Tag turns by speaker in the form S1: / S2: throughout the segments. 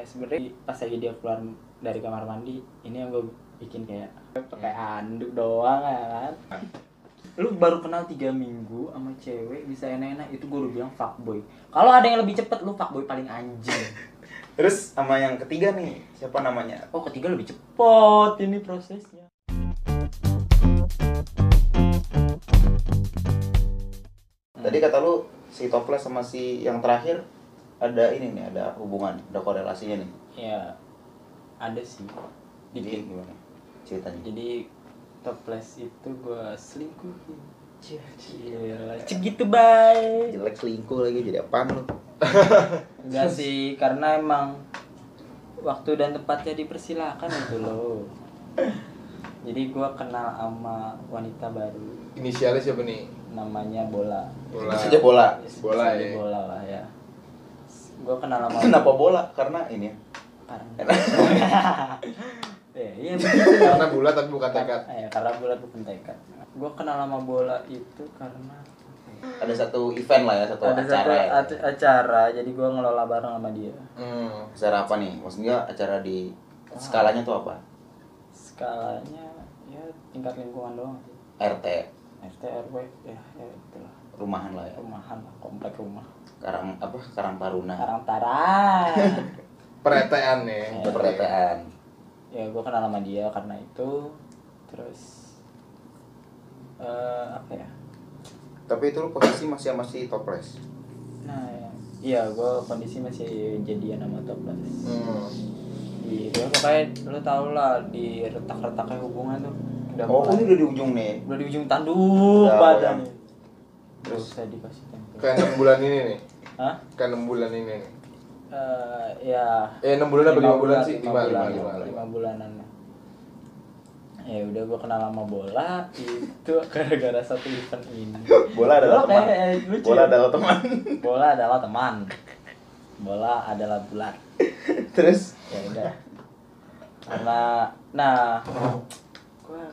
S1: sebenarnya pas lagi dia keluar dari kamar mandi ini yang gue bikin kayak pakai handuk doang ya kan lu baru kenal tiga minggu sama cewek bisa enak-enak itu gue udah bilang fuckboy kalau ada yang lebih cepet lu fuckboy paling anjing
S2: Terus sama yang ketiga nih, siapa namanya?
S1: oh ketiga lebih cepet ini prosesnya
S2: Tadi kata lu si toples sama si yang terakhir ada ini nih, ada hubungan, ada korelasinya nih.
S1: ya ada sih
S2: Jadi
S1: dikit
S2: gimana? Ceritanya.
S1: jadi toples itu gue selingkuhin Gila, cek gitu bye
S2: Jelek selingkuh lagi jadi apaan lu?
S1: Enggak sih, karena emang waktu dan tempatnya dipersilakan gitu loh. Jadi gua kenal sama wanita baru
S3: Inisialnya siapa nih?
S1: namanya Bola.
S2: Sebut
S3: Bola.
S2: saja bola.
S3: Bola,
S1: Sebut
S3: ya.
S1: Bola lah ya. Gua kenal sama
S2: Kenapa bola? Karena ini ya.
S1: Karena. ya, iya begitu dong.
S3: Karena bulat tapi bukan tekad.
S1: Eh, karena bola bukan tekad. Gua kenal sama Bola itu karena
S2: ada satu event lah ya, satu
S1: ada
S2: acara.
S1: satu
S2: ya.
S1: ac- acara, jadi gua ngelola bareng sama dia.
S3: Hmm.
S2: Acara apa nih? Maksudnya acara di skalanya tuh apa?
S1: Skalanya ya tingkat lingkungan doang sih.
S2: RT,
S1: RT RW ya ya itulah
S2: rumahan lah ya.
S1: rumahan lah komplek rumah
S2: Karang apa? Karang Taruna.
S1: karang taran
S3: Peretean nih.
S2: Ada perretaan.
S1: ya gue kenal sama dia karena itu terus eh apa ya
S2: Tapi itu lu posisi masih masih toples.
S1: nah ya, iya gue kondisi masih jadian sama toples
S3: Hmm.
S1: di ya, pokoknya lo tau lah di retak-retaknya hubungan tuh udah
S2: Oh,
S1: mulai-
S2: ini udah di ujung nih.
S1: udah di ujung tanduk
S2: Udah,
S1: badannya
S2: udah.
S1: terus saya dikasih tempel
S3: Kayak enam bulan ini nih.
S1: Hah?
S3: Kayak enam bulan ini nih.
S1: Eh, ya
S3: Eh enam bulan apa lima bulan sih?
S1: lima
S3: Lima lima
S1: bulan
S3: lima.
S1: lima bulanan ya udah gue kenal sama bola itu gara-gara satu event ini
S2: Bola adalah
S1: Bola
S2: teman.
S1: kayak, eh, lucu
S2: Bola
S1: ya.
S2: adalah teman.
S1: bola adalah teman bola adalah bulat
S2: Terus
S1: ya udah karena nah gue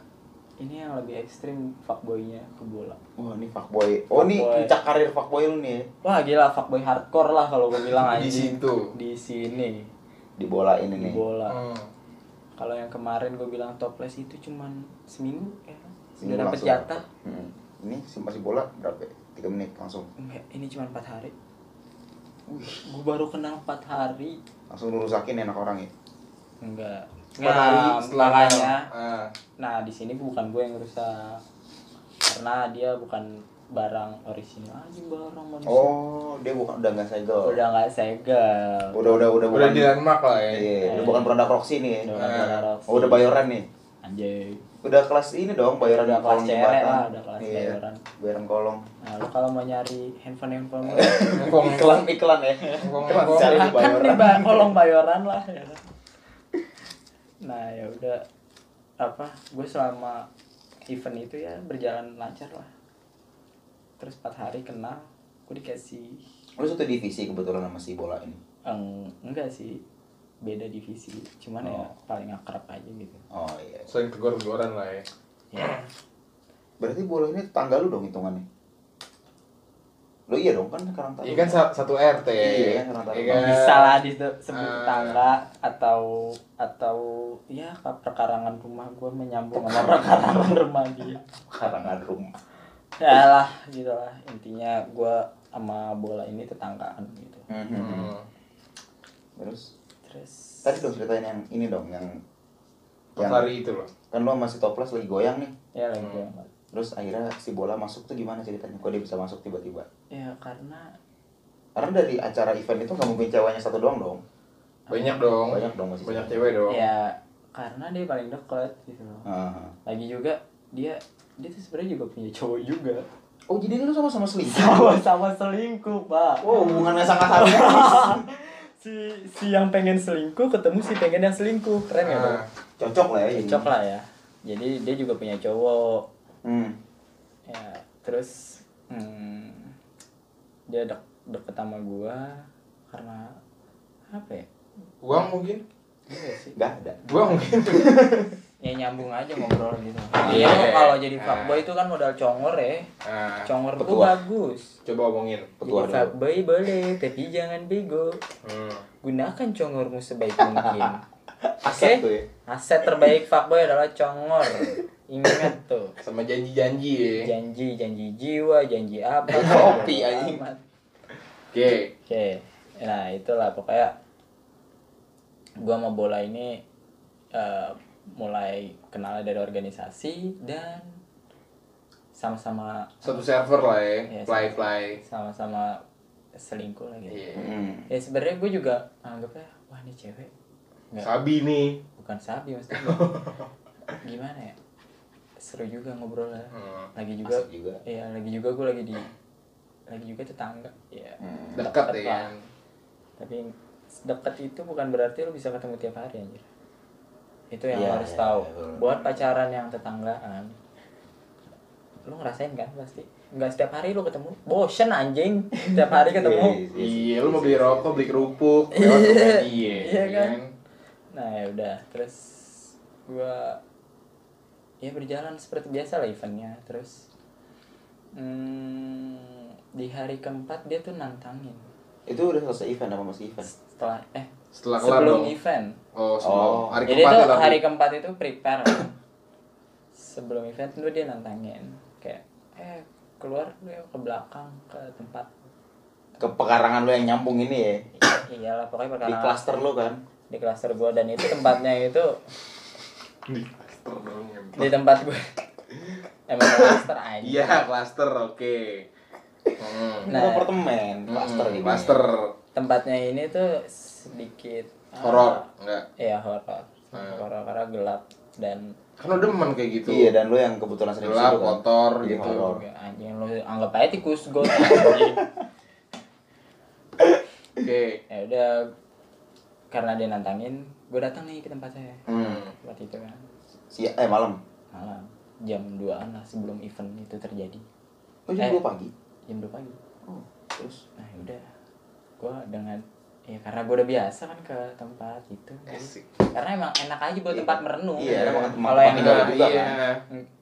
S1: ini yang lebih ekstrim fuckboynya ke bola
S2: Wah ini fuckboy. Oh ini
S1: Fuckboy.
S2: puncak karir fuckboy lu nih ya.
S1: wah gila fuckboy hardcore lah kalau gue bilang
S3: Di
S1: anjing
S3: situ.
S1: di sini
S2: Di bola ini
S1: di
S2: nih.
S1: bola
S3: Hmm.
S1: Kalau yang kemarin gue bilang toples itu cuman seminggu ya. kan?
S2: Ini
S1: Udah dapet
S2: langsung
S1: jatah.
S2: Mm-mm. Ini masih bola berapa? ya? Tiga menit langsung.
S1: Enggak, ini cuman 4 hari. Gue baru kenal 4 hari.
S2: Langsung lu rusakin enak orang ya.
S1: Enggak.
S3: Empat hari setelah
S1: makanya,
S3: Ah.
S1: ya. Nah, di sini bukan gue yang rusak. Karena dia bukan barang orisinal. Anjing barang manusia.
S2: Oh dia bukan udah nggak segel.
S1: Udah nggak segel.
S2: Udah udah udah
S3: Udah
S2: bukan.
S3: di landmark lah ya.
S2: Iya, udah bukan produk Roxy nih.
S1: Udah
S2: ya.
S1: nggak barang Roxy.
S2: Oh udah bayoran nih.
S1: Anjay.
S2: Udah kelas ini dong bayoran
S1: Udah kelas
S2: kolong
S1: cere
S2: jembatan.
S1: lah, udah kelas
S2: Iya,
S1: bayoran.
S2: Bayoran kolong.
S1: Nah, lu kalau mau nyari handphone-handphone lu,
S3: Ngkong
S2: Iklan iklan ya.
S3: Ngkong,
S2: Iklan
S3: ngkong.
S2: cari di
S1: kan di
S2: bayoran.
S1: ba- kolong bayoran lah ya kan. nah ya udah apa gue selama event itu ya berjalan lancar lah terus empat hari kenal gue dikasih
S2: Lu satu divisi kebetulan sama si bola ini.
S1: eng- enggak sih beda divisi cuman ya paling akrab aja gitu
S2: Oh iya.
S3: Sering tegor-tegoran lah ya.
S1: ya
S2: Berarti bola ini tetangga lu dong hitungannya. Lo iya dong kan karang taruna.
S3: Iya kan sa- satu RT.
S2: Iya, kan, rata-rata.
S3: Iya kan?
S1: bisa lah disebut
S3: eh.
S1: tangga atau atau ya ke perkarangan rumah gue menyambung sama perkarangan rumah dia
S2: karangan rumah.
S1: ya lah gitu lah intinya gue sama bola ini tetanggaan gitu
S3: Hmm.
S2: Terus
S1: terus
S2: tadi dong ceritain yang ini dong yang
S3: Pas
S2: yang
S3: hari itu loh.
S2: kan lu masih toples lagi goyang nih.
S1: ya lagi banget
S2: Terus akhirnya si bola masuk tuh gimana ceritanya? Kok dia bisa masuk tiba-tiba?
S1: ya karena
S2: Karena dari acara event itu nggak mungkin ceweknya satu doang dong.
S3: Banyak dong.
S2: Banyak dong masih.
S3: Banyak cewek dong.
S1: ya karena dia paling deket gitu loh
S2: Ah.
S1: lagi juga dia dia tuh sebenarnya juga punya cowok juga
S2: Oh jadi lu sama-sama selingkuh?
S1: sama-sama selingkuh pak
S2: Wow Oh, hubungannya sangat harmonis.
S1: si si yang pengen selingkuh ketemu si pengen yang selingkuh keren ya
S3: Ah.
S1: bro
S2: Cocok lah ya.
S1: cocok lah ya jadi dia juga punya cowok
S2: Hmm.
S1: ya terus hmm, dia dek deket sama gua karena apa ya
S3: Uang mungkin?
S1: Iya sih
S2: Gak ada.
S3: Uang mungkin.
S1: ya nyambung aja ngobrol gitu iya
S3: Iya.
S1: lu kalau jadi
S3: Nah.
S1: fuckboy itu kan modal congor ya
S3: Nah,
S1: congor tuh
S2: ah. Petua.
S1: bagus
S3: coba omongin.
S2: Petua
S1: jadi
S2: dulu.
S1: fuckboy boleh tapi jangan bego
S3: Hmm.
S1: gunakan congormu sebaik mungkin
S2: Aset
S1: Oke?
S2: tuh ya.
S1: aset terbaik fuckboy adalah congor ingat tuh
S3: Sama janji-janji ya.
S1: janji janji jiwa janji apa
S2: Kopi, anjing.
S1: Amat.
S3: Oke.
S1: Oke, nah itulah pokoknya gua sama bola ini eh, mulai kenal dari organisasi dan sama-sama
S3: Satu server lah ya.
S1: Iya,
S3: Fly
S1: sama.
S3: fly.
S1: sama-sama selingkuh lah gitu.
S3: Iya.
S2: Hmm.
S1: Ya sebenarnya gue juga anggapnya wah ini cewek Iya.
S3: Sabi nih.
S1: bukan sapi maksudnya gimana ya seru juga ngobrolnya
S3: Hmm.
S1: lagi juga
S2: Asik juga.
S1: iya lagi juga gue lagi di lagi juga tetangga ya
S2: Hmm.
S1: Deket
S3: Dekat ya.
S1: lah.
S3: kan.
S1: tapi dekat itu bukan berarti lu bisa ketemu tiap hari anjir itu yang
S2: Iya,
S1: lu harus
S2: iya,
S1: tahu
S2: iya, betul.
S1: buat pacaran yang tetanggaan lu ngerasain kan pasti nggak setiap hari lu ketemu bosen anjing setiap hari ketemu
S2: Yes, yes, yes,
S3: Iya,
S2: yes,
S3: lu mau
S2: yes,
S3: beli
S2: yes,
S3: rokok,
S2: yes.
S3: beli kerupuk, lewat rumah dia.
S1: Iya
S3: ya
S1: kan? nah ya udah terus gua ya berjalan seperti biasa lah eventnya terus hmm, di hari keempat dia tuh nantangin
S2: Itu udah selesai event apa masih event?
S1: setelah eh
S3: Setelah kelar
S1: sebelum
S3: dong.
S1: event
S3: Oh, sebelum
S2: Oh.
S3: hari
S1: Jadi
S3: keempat
S1: itu
S3: ya, tapi.
S1: hari keempat itu prepare kan. Sebelum event tuh dia nantangin kayak eh keluar lu ya ke belakang ke tempat
S2: Ke pekarangan lu yang nyambung ini ya.
S1: iyalah pokoknya
S2: Di
S1: perkenalan
S2: klaster lu kan.
S1: di klaster gua dan itu tempatnya itu
S3: Di klaster dong. ya.
S1: di tempat gua emang klaster aja
S3: Iya, klaster, oke. Hmm.
S2: Nah,
S1: Nah.
S2: apartemen, klaster
S3: Hmm,
S2: gitu.
S3: Klaster.
S1: tempatnya ini tuh sedikit ah,
S3: Horor, enggak.
S1: iya horor
S3: Hmm.
S1: horor karena gelap dan
S3: Kan udah demen kayak gitu.
S2: Iya, dan lu yang kebetulan sering
S3: Gelap,
S2: situ kan?
S3: kotor
S2: Iya,
S3: gitu.
S2: horor.
S1: juga anjing lu anggap aja tikus gue anjing
S3: Oke.
S1: ya udah karena dia nantangin gue datang nih ke tempat saya
S3: Hmm.
S1: tempat itu kan
S2: Si eh malam.
S1: malam jam 2an lah sebelum event itu terjadi
S2: Oh, jam
S1: Eh.
S2: 2 pagi.
S1: jam 2 pagi
S2: Oh, terus
S1: nah udah gue dengan ya karena gue udah biasa kan ke tempat itu
S3: Asik.
S1: karena emang enak aja buat
S2: Iya.
S1: tempat merenung
S2: Iya, emang tempat
S1: kalau yang
S2: tinggal
S1: enggak
S2: juga kan.
S3: iya.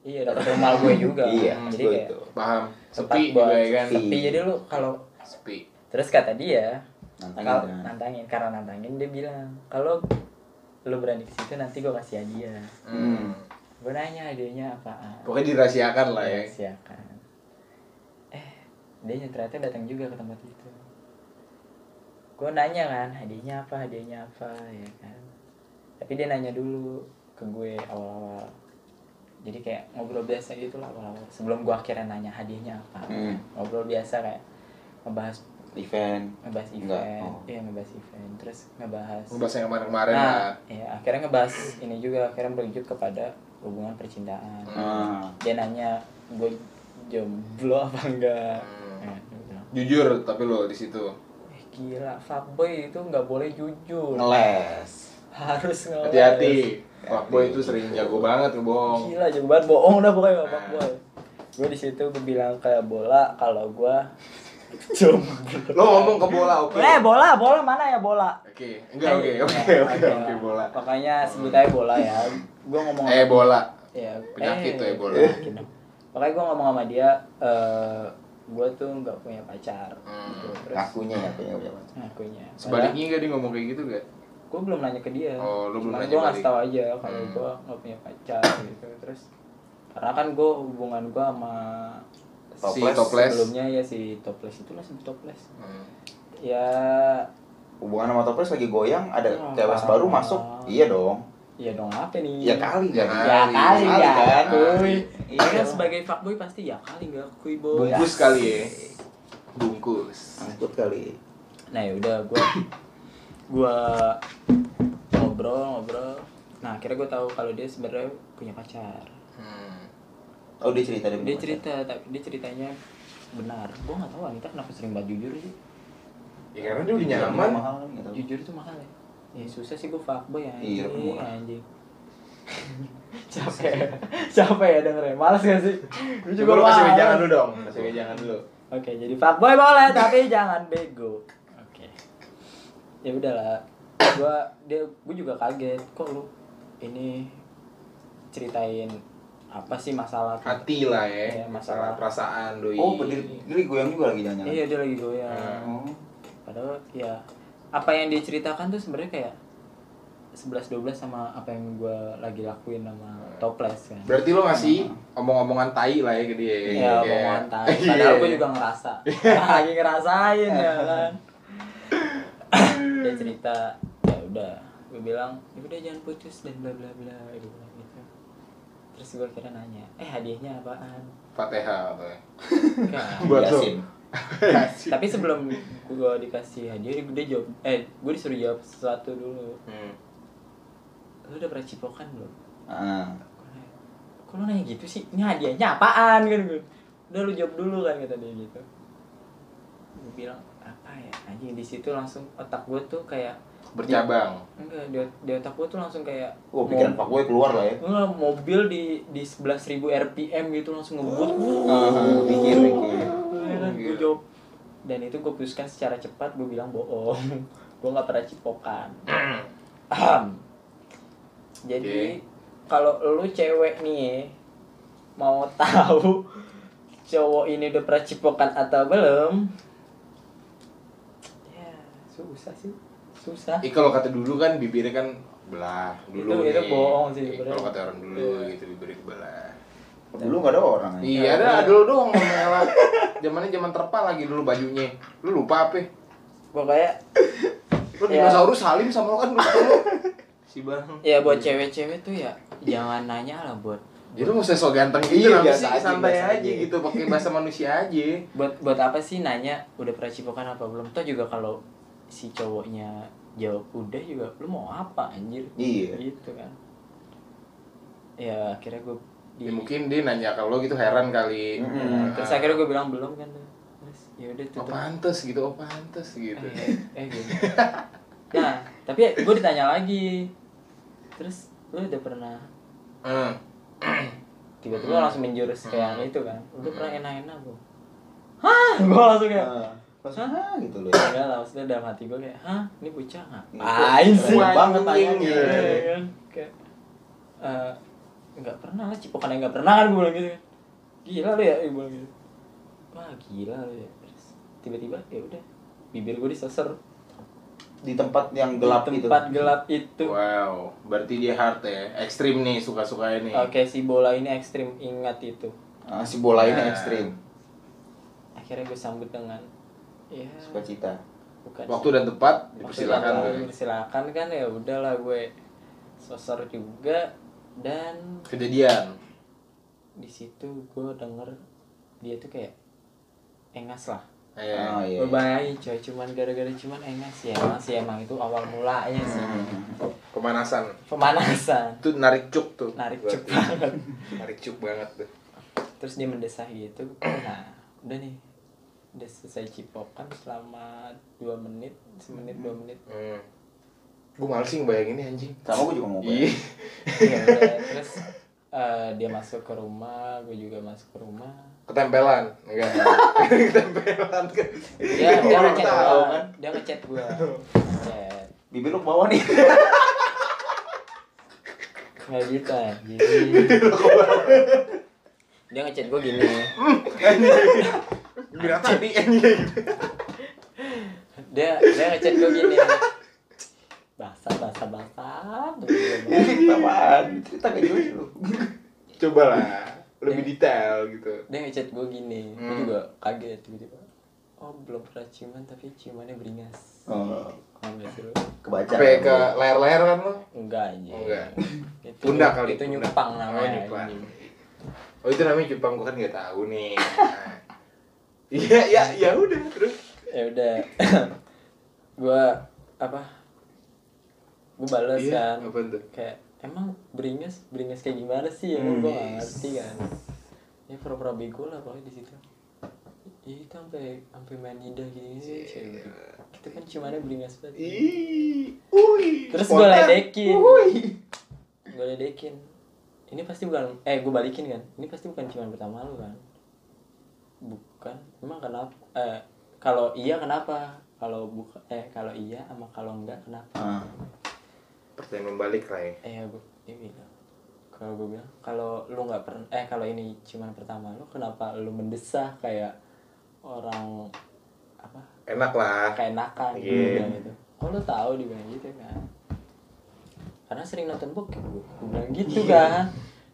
S1: iya dapet rumah gue juga
S2: Iya,
S1: Hmm, jadi
S2: gua
S1: kayak
S2: itu.
S3: Paham.
S1: tempat
S3: Sepi
S1: buat
S3: juga ya kan.
S2: sepi.
S1: sepi jadi lu kalau
S3: Sepi.
S1: terus kata dia
S2: nantangin
S1: kalau
S2: kan?
S1: nantangin karena nantangin dia bilang kalau lu berani ke situ nanti gue kasih hadiah
S3: Hmm.
S1: gue nanya hadiahnya apaan
S3: Pokoknya dirahasiakan lah ya.
S1: Siakan. Eh, dia yang ternyata datang juga ke tempat itu. Gue nanya kan, hadiahnya apa, hadiahnya apa, ya kan. Tapi dia nanya dulu ke gue awal-awal. Jadi kayak ngobrol biasa gitu lah awal-awal. Sebelum gue akhirnya nanya hadiahnya apa.
S2: Hmm.
S1: Ngobrol biasa kayak ngebahas
S2: Event.
S1: ngebahas
S2: Enggak,
S1: event,
S2: oh.
S1: iya ngebahas event, terus ngebahas
S3: Ngebahas yang kemarin-kemarin lah.
S1: Nah, ya, akhirnya ngebahas ini juga akhirnya berlanjut kepada hubungan percintaan
S2: Nah,
S3: Ah.
S1: dia nanya gue jomblo apa enggak
S3: Hmm.
S1: Nah, dia bilang,
S3: Jujur tapi lo di situ.
S1: eh, gila fuckboy itu nggak boleh jujur
S2: ngeles.
S1: harus ngeles
S3: Hati-hati. Fuckboy itu sering jago banget tuh bohong.
S1: gila jago banget bohong dah pokoknya
S3: Nah.
S1: fuckboy gue di situ gue bilang ke bola kalau gue jomblo
S3: Lo ngomong ke bola, oke.
S1: eh bola bola mana ya bola
S3: Oke, enggak oke, oke,
S1: Eh,
S3: oke, oke bola.
S1: makanya sebut aja bola ya gue ngomong
S3: Eh bola.
S1: ya
S3: Penyakit tuh Ebola.
S1: penyakit. makanya gue ngomong sama dia eh gue tuh nggak punya pacar
S3: Hmm.
S1: gitu. terus
S2: Ngakunya ya, kayaknya punya pacar.
S1: ngakunya
S3: Sebaliknya gak dia ngomong kayak gitu gak?
S1: gue belum nanya ke dia
S3: Oh, lu belum nanya
S1: gue ngasih
S3: balik.
S1: tau aja kalau
S3: Hmm.
S1: gue nggak punya pacar gitu terus karena kan gue hubungan gue sama
S3: Si
S2: Toples.
S3: toples.
S1: sebelumnya ya si toples itu lah si toples
S3: Hmm.
S1: ya
S2: Hubungan sama toples lagi goyang, ada
S1: Oh,
S2: cewek baru
S1: parah.
S2: masuk. Iya dong.
S1: ya dong apa nih
S2: Ya kali
S3: Ya
S1: ya
S2: kan.
S1: kali
S2: Kali
S1: ya
S2: kan?
S1: kuy
S2: Iya.
S1: kan sebagai fuckboy pasti ya kali nggak kuy boy
S3: Bungkus kali ya. Bungkus.
S2: Angkut kali.
S1: nah yaudah gue gue ngobrol ngobrol nah akhirnya gue tahu kalau dia sebenarnya punya pacar
S3: Hmm.
S2: Oh, dia cerita dia punya
S1: dia
S2: pacar.
S1: cerita tapi dia ceritanya benar gue nggak tahu wanita kenapa sering banget jujur sih
S3: Ya karena dia udah
S2: Iya,
S3: nyaman.
S2: mahal kan, nggak tahu.
S1: jujur tuh mahal ya ya susah sih gue fuckboy ya
S2: Iya,
S1: anjing
S2: murah.
S1: anjing capek ya? capek ya dengernya males gak sih Lu
S3: Coba lo kasih kan,
S1: males.
S3: wejangan dulu dong. Kasih wejangan dulu.
S1: oke jadi fuckboy boleh tapi jangan bego oke ya udahlah gue dia gue juga kaget kok lu ini ceritain apa sih masalah
S3: hati lah
S1: Iya,
S3: ya
S1: masalah.
S3: masalah perasaan doi
S2: Oh, berdiri diri goyang juga lagi jangan.
S1: iya dia lagi goyang
S2: Oh.
S1: padahal ya apa yang dia ceritakan tuh sebenarnya kayak 11 12 sama apa yang gue lagi lakuin sama toples kan
S3: berarti lo ngasih omong-omongan tai lah ya ke dia
S1: Iya,
S3: Kayak-
S1: omongan tai.
S3: Iya.
S1: Padahal gue juga ngerasa. Lagi ngerasain ya kan. Dia cerita, ya udah. Gue bilang, ya udah jangan putus dan bla bla bla. Dia bilang gitu. Terus gue kira nanya, eh hadiahnya apaan?
S3: Fatihah apa ya?
S1: Kan.
S3: Buat lo.
S2: Yasin.
S1: Nah, Tapi sebelum gue dikasih hadiah, dia jawab, eh gue disuruh jawab sesuatu dulu.
S3: Hmm.
S1: Lu udah pernah cipokan belum?
S2: Ah.
S1: Gua nanya, Kok lu nanya gitu sih? Ini hadiahnya apaan? Kan gue. Udah lu jawab dulu kan kata dia gitu. Gue bilang apa ya? Anjing di situ langsung otak gue tuh kayak
S3: bercabang
S1: enggak di, di otak gue tuh langsung kayak
S2: Oh, pikiran Pak Boy keluar lah ya.
S1: Enggak, mobil di di 11.000 rpm gitu langsung ngebut.
S3: Oh.
S2: Ah, pikir pikir.
S1: gue
S3: gila.
S1: jawab dan itu gue putuskan secara cepat gue bilang bohong gue nggak pernah cipokan Ahem. jadi kalau lu cewek nih ya, mau tahu cowok ini udah pernah cipokan atau belum ya susah sih susah
S3: Ih kalau kata dulu kan bibirnya kan belah dulu
S1: Itu- itu
S3: nih.
S1: bohong sih,
S3: Ih, kalau
S1: sebenarnya.
S3: kata orang dulu
S1: Iya.
S3: gitu bibirnya kebelah
S2: Dulu nggak ada orang. ya?
S3: iya ada dulu dong mengelak zamannya zaman terpa lagi dulu bajunya lu lupa apa
S1: pokoknya
S3: lu
S1: Iya.
S3: dinosaurus salim sama lu kan lu ketemu. si bang
S1: ya buat cewek-cewek tuh ya jangan nanya lah buat
S3: itu mau sosok ganteng gitu
S2: Iya,
S3: iya,
S2: biasa
S3: sih
S2: aja,
S3: santai
S2: biasa
S3: aja,
S2: aja.
S3: gitu pakai bahasa manusia aja
S1: buat buat apa sih nanya udah pernah cipokan apa belum toh juga kalau si cowoknya jawab udah juga lu mau apa anjir
S2: Iya.
S1: gitu kan ya akhirnya gue di
S3: ya, mungkin dia nanya ke lo gitu heran kali Nah.
S2: Mm-mm.
S1: terus akhirnya gue bilang belum kan tuh. terus ya udah
S3: oh
S1: tutup
S3: pantes gitu oh pantes gitu
S1: eh, eh, eh, gitu nah tapi gue ditanya lagi terus lu udah pernah
S3: Hmm.
S1: tiba-tiba langsung menjurus kayak itu kan udah pernah
S3: Hmm.
S1: enak-enak bu hah gue langsung kayak
S2: Ah, Langsung ah gitu loh.
S1: Enggak lah, maksudnya dalam hati gue kayak, hah ini bocah
S2: Ini
S1: ngapain
S2: kok
S1: sih?
S2: keren banget
S3: anjing,
S2: tanyanya.
S3: gitu.
S1: Iya, kan? Kayak, eh, nggak pernah lah, cipokan yang nggak pernah kan gue bilang gitu kan. Gila lu ya, gue bilang gitu. Wah gila lu ya. Terus tiba-tiba ya udah, bibir gue diseser.
S2: Di tempat yang gelap
S1: Di
S2: gitu.
S1: tempat gelap itu.
S3: wow berarti dia hard ya ekstrim nih suka suka ini
S1: Oke si bola ini ekstrim ingat itu.
S2: Ah, si bola ini
S3: Nah.
S2: ekstrim.
S1: Akhirnya gue sambut dengan, ya
S2: Sukacita.
S1: bukan.
S3: waktu dan tempat
S1: Dipersilakan
S3: dipersilakan
S1: Dipersilakan kan ya udahlah gue sosor juga dan
S3: kejadian
S1: di situ gue denger dia tuh kayak engas lah
S2: Ah,
S3: Iya.
S2: iya.
S1: Gua bayangin coy cuman gara-gara cuman engas ya masih emang itu awal mulanya sih
S3: pemanasan
S1: pemanasan
S3: itu narik cuk tuh
S1: narik
S3: Berarti.
S1: cuk banget
S3: narik cuk banget tuh
S1: terus dia mendesah gitu nah udah nih udah selesai cipokan selama dua menit semenit dua menit
S3: hmm. gue males sih ngebayanginnya anjing
S2: Sama gue juga mau
S3: iya
S2: bayar.
S1: Ya udah. terus eh, dia masuk ke rumah gue juga masuk ke rumah
S3: ketempelan ya kan? enggak ketempelan kan
S1: dia dia
S3: Orang
S1: ngechat
S3: tahu
S1: gue
S3: kan
S1: dia ngechat gue Ngechat.
S2: Bibir lu ke bawah nih.
S1: Nggak gitu anjing Dia ngechat gue gini
S3: Bira tadi anjing
S1: Dia dia ngechat gue gini Basah basah basah
S2: Apaan? Cerita gak jelas lu.
S3: coba lah lebih detail gitu
S1: Dia ngechat gue gini Gue
S3: Hmm.
S1: juga kaget tiba-tiba Oh belum pernah ciuman tapi ciumannya beringas
S2: Oh,
S1: Paham gak sih lu?
S2: kebaca.
S3: sampai ke leher-leher kan lo
S1: Enggak anjing
S3: Oh, enggak.
S1: Itu-
S3: pundak kali
S1: Itu
S3: pundak.
S1: nyupang
S3: oh,
S1: namanya
S3: nyupang.
S1: anjing.
S3: oh itu namanya nyupang gua kan nggak tahu nih Nah. iya ya ya udah terus
S1: ya udah gue apa gue balas
S3: Iya,
S1: kan
S3: apaan tuh?
S1: kayak emang beringas beringas kayak gimana sih ya
S3: Hmm.
S1: gue gak ngerti kan ya pura-pura bego lah pokoknya di situ Ih, itu sampai sampai main lidah gini sih cewek. itu kan cuma beringas banget
S3: Iya, Ih, ui,
S1: terus gue
S3: spontan.
S1: ledekin
S3: Ui.
S1: gue ledekin ini pasti bukan eh gue balikin kan ini pasti bukan cuma pertama lu kan bukan emang kenapa eh kalau iya kenapa kalau buka eh kalau iya sama kalau enggak kenapa
S2: Ah.
S1: iya,
S3: pertanyaan membalik lah ya
S1: eh gue dia bilang kalau gue bilang kalau lu nggak pernah eh kalau ini cuman pertama lu kenapa lu mendesah kayak orang apa
S3: enak lah
S1: keenakan gitu
S3: Iya.
S1: bilang gitu kok lu tahu dia bilang gitu kan karena sering nonton bokep gue Gue bilang gitu
S2: Iya.
S1: kan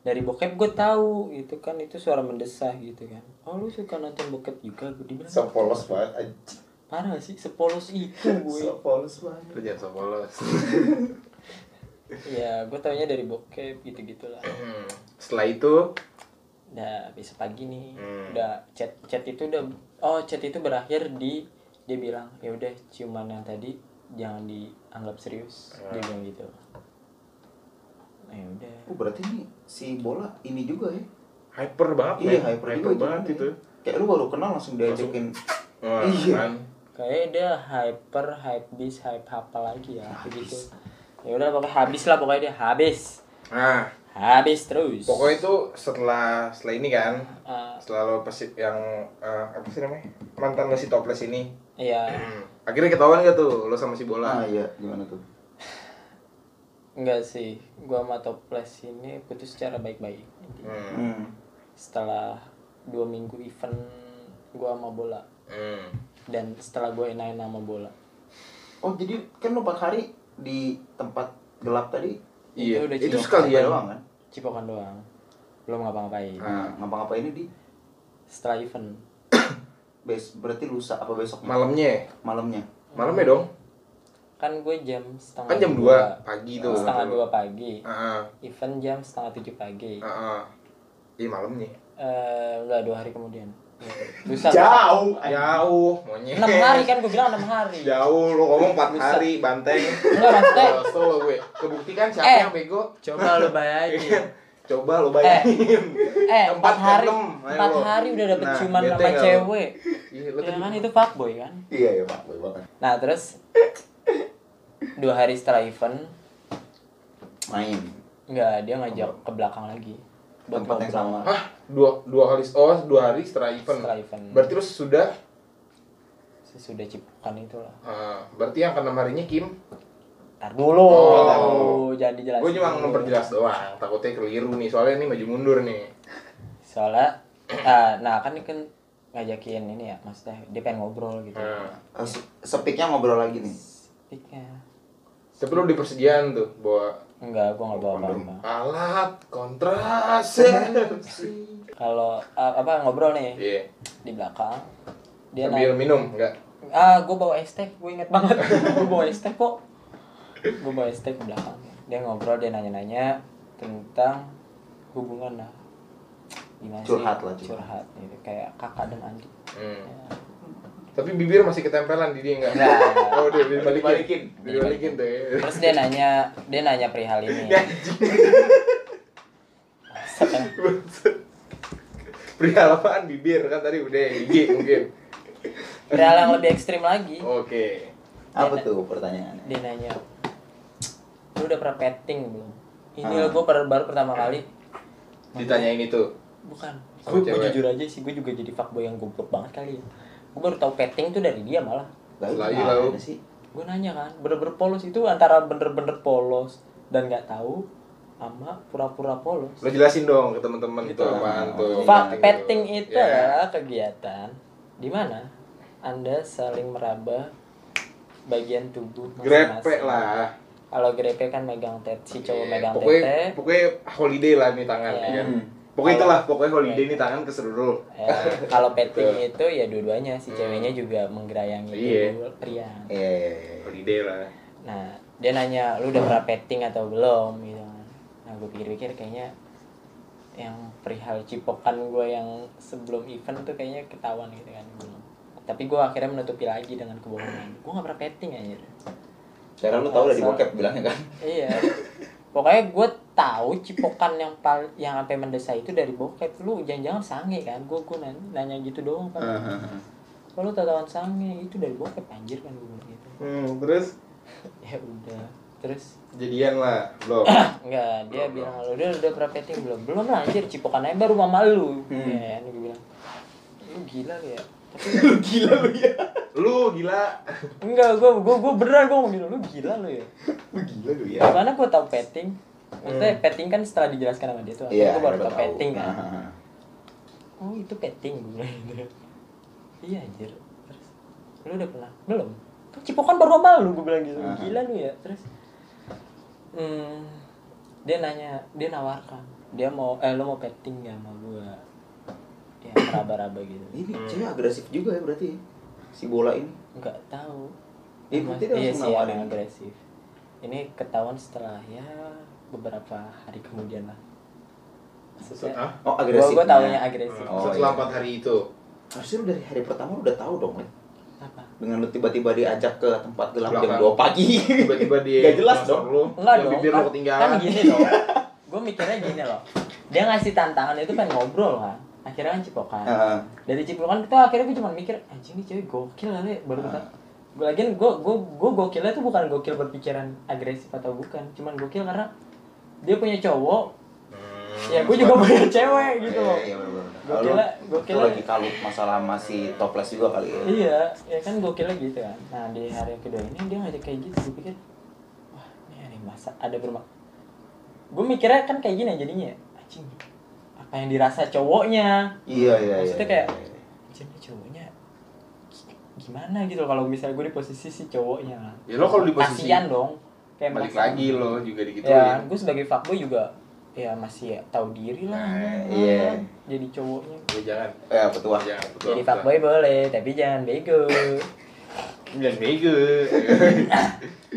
S1: dari bokep gue tahu gitu kan itu suara mendesah gitu kan oh lu suka nonton bokep juga gue dibilang
S2: so polos banget anjing
S1: parah sih sepolos itu gue
S2: so polos banget
S3: lu jangan sok polos
S1: ya gue taunya dari bokep gitu gitulah
S3: Hmm. setelah itu
S1: udah besok pagi nih
S3: Hmm.
S1: udah chat chat itu udah oh chat itu berakhir di dia bilang ya udah ciuman yang tadi jangan dianggap serius
S3: Hmm.
S1: dia bilang gitu nah, ya udah
S2: oh berarti nih si bola ini juga ya
S3: hyper banget
S2: iya
S3: men.
S2: hyper juga
S3: banget
S2: jalannya
S3: itu
S2: ya. kayak lu baru kenal langsung diajakin
S3: Wah,
S2: Iya.
S3: kan.
S1: kayaknya dia hyper hype bis hype apa lagi ya gitu ya udah pokoknya habis lah pokoknya dia habis
S3: nah
S1: habis terus
S3: pokoknya itu setelah setelah ini kan
S1: Ah,
S3: setelah lo pesi- yang eh, apa sih namanya mantan lo si toples ini
S1: iya
S3: Hmm. akhirnya ketahuan gak tuh lo sama si bola
S2: ah iya gimana tuh
S1: enggak sih gua sama toples ini putus secara baik-baik
S3: Hmm.
S2: hmm.
S1: setelah dua minggu event gua sama bola
S3: Hmm.
S1: dan setelah gue enain sama bola
S2: oh jadi kan lu empat hari di tempat gelap tadi
S1: Itu
S3: Iya,
S1: udah
S3: itu
S1: cium.
S2: Iya
S3: sekalian.
S2: doang kan
S1: cipokan doang belum ngapa-ngapain
S3: Ah.
S2: nah, ngapa-ngapainnya di
S1: setelah event
S2: bes berarti lusa apa besok
S3: Malamnya,
S2: malamnya
S3: malamnya dong.
S1: kan gue jam setengah
S3: Kan jam 2 pagi tuh. Ah.
S1: setengah dua pagi
S3: Heeh.
S1: event jam setengah tujuh pagi
S3: Heeh. ah, Iya malamnya.
S1: Eh, enggak dua hari kemudian lusa
S2: jauh
S3: Jauh, monyet.
S1: enam hari kan gue bilang enam hari
S3: Jauh, lo ngomong 4
S1: Buset.
S3: hari, banteng.
S1: enggak maksudnya
S3: Lolos tuh lo gue. Kebuktikan siapa
S1: Eh.
S3: yang bego.
S1: coba lo bayangin
S3: Coba lo Iya. bayangin.
S1: eh
S3: Empat
S1: empat
S3: ke
S1: hari
S3: enam, ayo
S1: empat
S3: lo.
S1: hari udah dapet
S3: Nah,
S1: ciuman
S3: bete
S1: sama
S3: nggak lo?
S1: cewek
S3: Iya, lo
S1: ya
S3: tadi
S1: kan itu fuckboy kan
S2: iya iya pak boy banget
S1: nah terus dua hari setelah event
S2: main
S1: Enggak, dia ngajak ke belakang lagi. Buat
S2: tempat yang
S1: ngobrol
S2: sama
S3: Hah, dua dua kali oh dua hari setelah event.
S1: Setelah event.
S3: Berarti lo sudah
S1: sesudah cipukan itulah.
S3: eh, berarti yang keenam harinya Kim.
S1: Ntar dulu.
S3: Oh.
S1: ntar dulu. Jangan dijelasin.
S3: Gue cuma
S1: dulu.
S3: memperjelas doang, takutnya keliru nih. Soalnya ini maju mundur nih.
S1: Soalnya ah, nah kan dia kan ngajakin ini ya, maksudnya dia pengen ngobrol gitu.
S3: Nah,
S2: Eh, se- sepiknya ngobrol lagi nih
S1: Speaknya.
S3: tapi lo di persediaan tuh bawa
S1: Enggak, gua enggak bawa apa-apa.
S3: alat kontrasepsi.
S1: Kalau ah, apa ngobrol nih
S3: Iya.
S1: di belakang. Dia
S3: Sambil
S1: naik.
S3: minum enggak?
S1: Ah, gua bawa es teh, gua inget banget. gua bawa es teh kok. Gua bawa es teh ke belakang. Dia ngobrol, dia nanya-nanya tentang hubungan lah. Gimana sih?
S2: Curhat lah, curhat.
S1: curhat. gitu. Kayak kakak dan adik.
S3: Hmm.
S1: Ya.
S3: Tapi bibir masih ketempelan di dia enggak?
S1: Enggak.
S3: Oh, dia dibalikin.
S2: Dibalikin.
S3: Dibalikin tuh. ya.
S1: Terus dia nanya, dia nanya perihal ini.
S3: Ya, Perihal apaan bibir kan tadi udah gigi mungkin.
S1: perihal yang lebih ekstrim lagi.
S3: Oh. Oke.
S2: apa tuh pertanyaannya
S1: Dia nanya, lu udah pernah petting belum? Ini lo
S2: Ah.
S1: gue baru, baru pertama kali.
S3: Ditanyain itu.
S1: Bukan.
S3: Sama
S1: Gue
S3: cewek.
S1: jujur aja sih, gue juga jadi fuckboy yang goblok banget kali ya. Gue baru tahu petting tuh dari dia malah.
S2: Lalu
S3: Lagi,
S2: gimana
S3: lalu.
S2: sih
S1: gue nanya kan bener-bener polos itu antara bener-bener polos dan nggak tahu sama pura-pura polos
S3: Lo jelasin dong ke teman-teman itu
S1: Gitu.
S3: apaan tuh.
S1: Fa- petting itu
S3: Ya.
S1: adalah kegiatan di mana anda saling meraba bagian tubuh
S3: Grepe
S1: masing-masing.
S3: lah.
S1: kalau grepe kan megang tet si cowok
S3: Iya,
S1: megang
S3: pokoknya,
S1: tete
S3: pokoknya holiday lah nih tangan
S1: Iya.
S3: ya kan.
S2: Hmm.
S1: Kalau-
S3: Pokoknya itulah, pokoknya holiday nih tangan keseluruh.
S1: Ya, kalau petting
S3: Betul. Hmm.
S1: itu ya dua-duanya si ceweknya juga menggerayangi
S3: Iya.
S1: tubuh pria
S2: iya iya iya
S3: Holiday lah.
S1: Nah, dia nanya, lu udah pernah petting atau belum? Gitu kan. Nah, gue pikir-pikir kayaknya yang perihal cipokan gue yang sebelum event tuh kayaknya ketahuan gitu kan. Belum. Tapi gue akhirnya menutupi lagi dengan kebohongan. Gue gak pernah petting aja.
S2: cara lu tahu dari
S1: Asal.
S2: bokep bilangnya kan
S1: Iya. Pokoknya gue tahu cipokan yang pal yang sampai mendesah itu dari bokep lu jangan-jangan sange kan gue gue nanya, nanya gitu doang kan kalau tatapan sange itu dari bokep anjir kan gue gitu
S3: Hmm, terus
S1: ya udah terus
S3: jadian lah, belum.
S1: Enggak, dia bilang lu udah udah pernah petting belum? Belum lah anjir, cipokan aja baru mama lu.
S2: Hmm.
S1: Ya, gue bilang. Lu gila lu ya. Tapi
S2: gila lu ya
S3: lu gila.
S1: enggak, gua gua gua beneran gua ngomong gitu, lu gila lu ya.
S2: lu gila lu ya
S1: Gimana gua tahu petting? Maksudnya petting kan setelah dijelaskan sama dia tuh, akhirnya gue
S2: Iya,
S1: baru
S2: baru
S1: tau
S2: tahu.
S1: petting kan.
S2: Ah.
S1: Oh itu petting gue bilang gitu. Iya anjir. Terus lu udah pernah? Belum. Tuh cipokan baru sama lu gue bilang gitu.
S2: Ah.
S1: Gila lu ya. Terus hmm, dia nanya, dia nawarkan. Dia mau eh lu mau petting gak sama gue? Ya meraba-raba gitu.
S2: Ini
S3: Hmm.
S2: cewek agresif juga ya berarti ya? si bola ini.
S1: Enggak tahu.
S2: Ih,
S1: Mas-
S2: berarti dia
S1: iya
S2: langsung
S1: sih
S2: nawarin. gitu?
S1: emang agresif. Ini ketahuan setelah ya beberapa hari kemudian lah. Maksudnya,
S3: Setelah,
S2: Oh
S1: gue
S2: agresif.
S1: gue tahunya agresif.
S2: Oh,
S3: setelah
S2: iya.
S3: empat hari itu.
S2: Harusnya lu dari hari pertama lu udah tahu dong. Len.
S1: Apa?
S2: Dengan lu tiba-tiba diajak ke tempat gelap jam
S3: Belakang.
S2: 2 pagi.
S3: Tiba-tiba dia
S2: Gak jelas
S3: nyosor
S2: dong.
S3: Lu,
S1: Enggak
S3: yang
S1: dong.
S3: bibir lu
S1: kan-
S3: ketinggalan.
S1: Kan gini dong. gue mikirnya gini loh. Dia ngasih tantangan itu pengen ngobrol kan. Akhirnya kan cipokan.
S2: Heeh.
S1: Dari cipokan itu akhirnya gue cuma mikir, anjing nih cewek gokil kali ya, baru
S2: Ah.
S1: uh. Gue lagian gue gue gue gokilnya tuh bukan gokil berpikiran agresif atau bukan, cuman gokil karena dia punya cowok,
S3: Hmm.
S1: ya gue juga punya cewek gitu loh.
S2: Iya, iya, bener-bener.
S1: Gua
S2: Lalu,
S1: kira- gua
S2: itu
S1: kira-
S2: lagi kalau masalah masih toples juga kali ya.
S1: Iya, ya kan gokilnya gitu kan. Nah di hari yang kedua ini dia ngajak kayak gitu, gue pikir, wah ini hari masa ada bermak. Gue mikirnya kan kayak gini jadinya, anjing apa yang dirasa cowoknya,
S2: Iya, iya, iya.
S1: Maksudnya
S2: iya,
S1: kayak-
S2: iya.
S1: anjing ini cowoknya gi- gimana gitu loh kalau misalnya gue di posisi si cowoknya lah.
S3: Ya, lo kalau di posisi-
S1: Kasian dong, kayak
S3: Balik
S1: merasa-
S3: lagi lo juga digituin.
S1: Ya, gue sebagai fuckboy juga ya masih tahu diri lah.
S3: Nah,
S1: ya.
S2: iya.
S1: Jadi cowoknya.
S3: Ya, jangan.
S2: Eh, petua.
S3: Jangan. betul,
S1: Jadi
S3: betul.
S1: fuckboy boleh, tapi jangan bego.
S3: Jangan bego.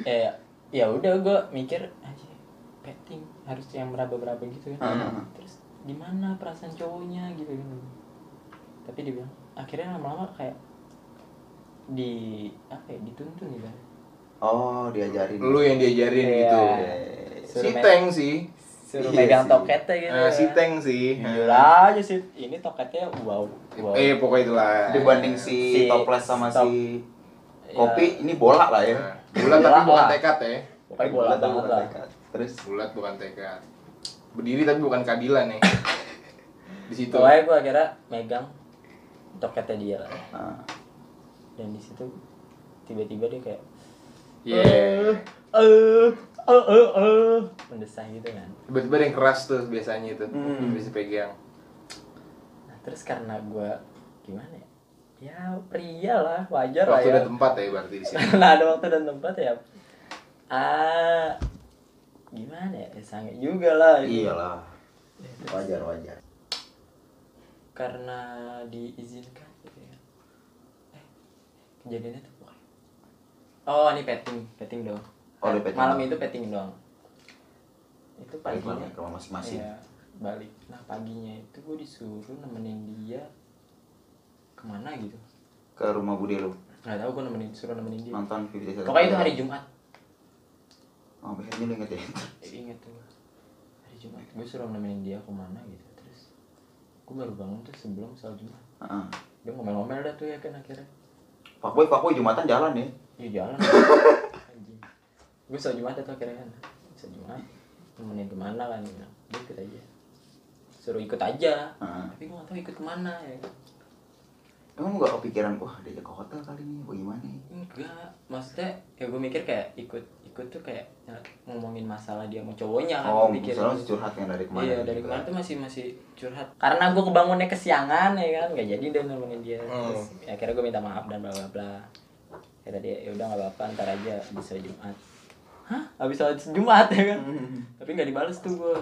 S1: ya ya udah gue mikir aja petting harus yang meraba-meraba gitu kan
S2: Heeh.
S1: terus gimana perasaan cowoknya gitu tapi dia bilang akhirnya lama-lama kayak di apa ya dituntun gitu
S2: Oh, diajarin.
S3: Lu yang diajarin
S1: Iya.
S3: gitu.
S2: Iya, iya, iya.
S3: Si
S1: Suruh main-
S3: Teng sih.
S1: suruh
S2: Iya
S1: megang
S2: sih.
S1: toketnya gitu
S3: Eh, si
S1: kan.
S3: Teng sih.
S1: Jujur aja sih ini toketnya wow wow
S3: Eh, pokoknya itulah.
S2: Dibanding si,
S1: Si
S2: toples sama
S1: top-
S2: si
S1: Ya,
S2: kopi, ini bola lah ya.
S3: Nah, Bulat tapi
S1: Bola
S3: bukan
S1: lah.
S3: tekad ya.
S1: pokoknya bola
S2: tapi
S1: banget
S2: bukan
S1: lah
S2: tekad. Terus
S3: Bulat bukan tekad. Berdiri tapi bukan keadilan nih. Di situ.
S1: pokoknya gue akhirnya megang toketnya dia lah
S2: ah,
S1: dan di situ tiba-tiba dia kayak
S3: Yeah.
S1: eh eh eh eh mendesah gitu kan
S3: Tiba-tiba ada yang keras tuh biasanya itu.
S2: Hmm.
S3: Bisa pegang.
S1: nah, terus karena gue gimana ya ya pria lah wajar lah
S3: Waktu
S1: ya
S3: dan tempat ya berarti di sini.
S1: karena ada waktu dan tempat ya ah gimana ya, ya sange juga lah gitu.
S2: iyalah.
S1: Ya, terus
S2: Wajar, wajar.
S1: karena diizinkan gitu ya eh kejadiannya tuh pokoknya oh ini petting petting dong
S2: Oh, ini petting
S1: malam
S2: doang.
S1: itu petting dong itu
S2: Balik
S1: paginya
S2: lagi ke rumah masing-masing.
S1: Iya, balik. Nah paginya itu gue disuruh nemenin dia kemana gitu.
S2: Ke rumah Bude lu
S1: Gak tau gue nemenin, suruh nemenin dia.
S2: nonton video
S1: Iya. Pokoknya itu hari Jumat.
S2: Oh, akhirnya lu inget ya.
S1: Eh, Ingat tuh. Hari Jumat. Gue suruh nemenin dia kemana gitu. Terus gue baru bangun tuh sebelum sholat Jumat.
S2: Heeh.
S1: Dia ngomel-ngomel dah tuh ya kan akhirnya.
S2: Pak Boy, Pak Boy Jumatan jalan ya.
S1: Ya jalan. Anjing. gue sholat Jumat dah tuh akhirnya kan. Sholat Jumat. Nemenin kemana kan. Dia bilang, "Dia ikut aja. Suruh ikut aja.
S2: Heeh.
S1: Tapi gue gak tau ikut kemana ya kan.
S2: Emang gak kepikiran, wah diajak ke hotel kali ini, bagaimana ya?
S1: enggak maksudnya ya gue mikir kayak ikut ikut tuh kayak ngomongin masalah dia sama cowoknya kan
S2: Oh,
S1: gua pikir
S2: misalnya masih curhat yang dari gitu kemarin. kan.
S1: iya dari kemarin tuh masih masih curhat karena gue kebangunnya kesiangan ya kan nggak jadi dan nemenin dia
S2: Hmm.
S1: terus ya, akhirnya gue minta maaf dan bla bla bla kata dia ya udah nggak apa-apa ntar aja bisa jumat hah habis sholat jumat ya kan tapi nggak dibales tuh gue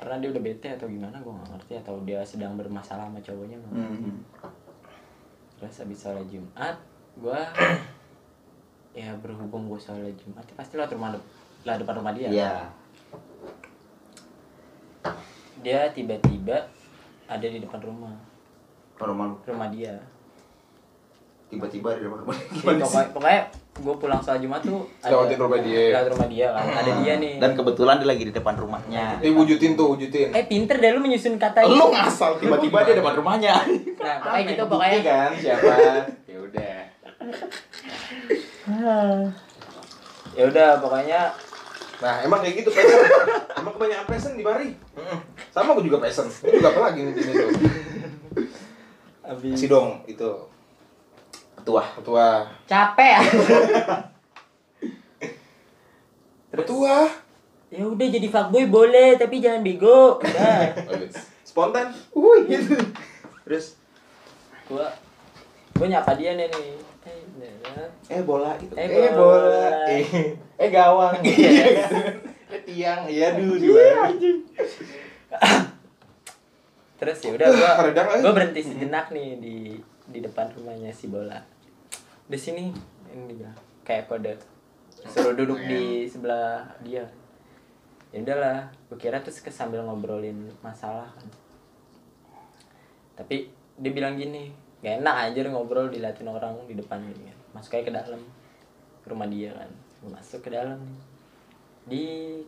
S1: karena dia udah bete atau gimana gue nggak ngerti atau dia sedang bermasalah sama cowoknya nggak
S2: Hmm.
S1: terus habis sholat Jumat gua ya berhubung gua sholat Jumat ya pasti lah rumah dep- lah depan rumah dia
S2: Iya.
S1: dia tiba-tiba ada di depan rumah
S2: Ke rumah lu.
S1: rumah dia
S2: Tiba-tiba di depan rumah.
S1: Jadi Iya, pokoknya, pokoknya gua pulang sholat Jumat tuh
S3: Lewatin rumah dia.
S1: lewat rumah dia kan ada dia nih
S2: Ah. Dan kebetulan dia lagi di depan rumahnya.
S3: Ini wujudin tuh, wujudin.
S1: eh pinter deh lu menyusun kata
S2: Lu
S1: gitu.
S2: ngasal tiba-tiba dia depan rumahnya.
S1: nah pokoknya
S3: Aneh,
S1: gitu
S3: bukti
S1: pokoknya
S3: kan siapa? ya udah.
S1: ya udah pokoknya
S3: Nah, emang kayak gitu pesen. emang kebanyakan pesen di Bari. Sama gue juga pesen. Gue juga apa lagi ngintipin itu.
S1: habis
S3: Si dong itu
S2: Ketua.
S3: ketua.
S1: capek
S3: Ketua.
S1: ya udah jadi fuckboy boleh tapi jangan bego udah
S3: Spontan.
S2: Wuih gitu. Terus
S1: gua gua nyapa dia nih nih Eh, Nana.
S2: eh bola gitu.
S1: Eh,
S2: Eh
S1: bola.
S2: bola. Eh, eh gawang. Iya. Eh tiang. Iya dulu juga.
S1: terus ya udah gua
S3: Redang aja.
S1: gua berhenti sejenak nih di di depan rumahnya si bola di sini ini dia kayak kode suruh duduk di sebelah dia ya udahlah gua kira terus ke- sambil ngobrolin masalah kan tapi dia bilang gini gak enak aja ngobrol diliatin orang di depan gitu kan masuk aja ke dalam ke rumah dia kan Gua masuk ke dalam nih. di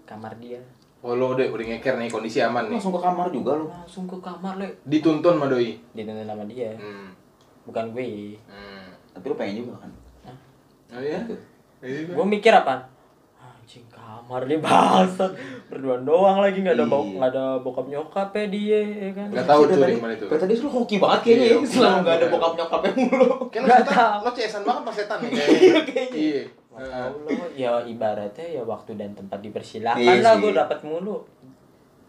S1: kamar dia
S3: Oh lo udah udah ngeker nih kondisi aman nih.
S2: Langsung ke kamar juga lu.
S1: langsung ke kamar le
S3: Dituntun sama doi.
S1: ditonton sama dia
S3: Hmm.
S1: bukan gue
S3: Hmm.
S2: Tapi lu pengen juga kan.
S3: Oh iya.
S1: gue mikir apa anjing kamar dia bahasa berduaan doang lagi nggak ada bok
S2: Iya.
S1: nggak ada bokap nyokap ya dia ya kan
S3: Nggak tahu
S2: Dari
S3: tuh
S2: tadi-
S3: di mana itu.
S2: Dari tadi lu hoki banget kayaknya
S3: Iya,
S2: ya. Selama
S3: hoki
S2: nggak ada
S3: banget.
S2: bokap nyokapnya mulu.
S3: Kan
S1: Nggak
S3: lo setan,
S1: tahu.
S3: lo cesan banget sama setan nih kayaknya.
S2: kayaknya.
S3: Iya.
S1: Nggak tahu lo ya ibaratnya ya waktu dan tempat dipersilakan
S2: Iya
S1: lah
S2: sih.
S1: gue dapat mulu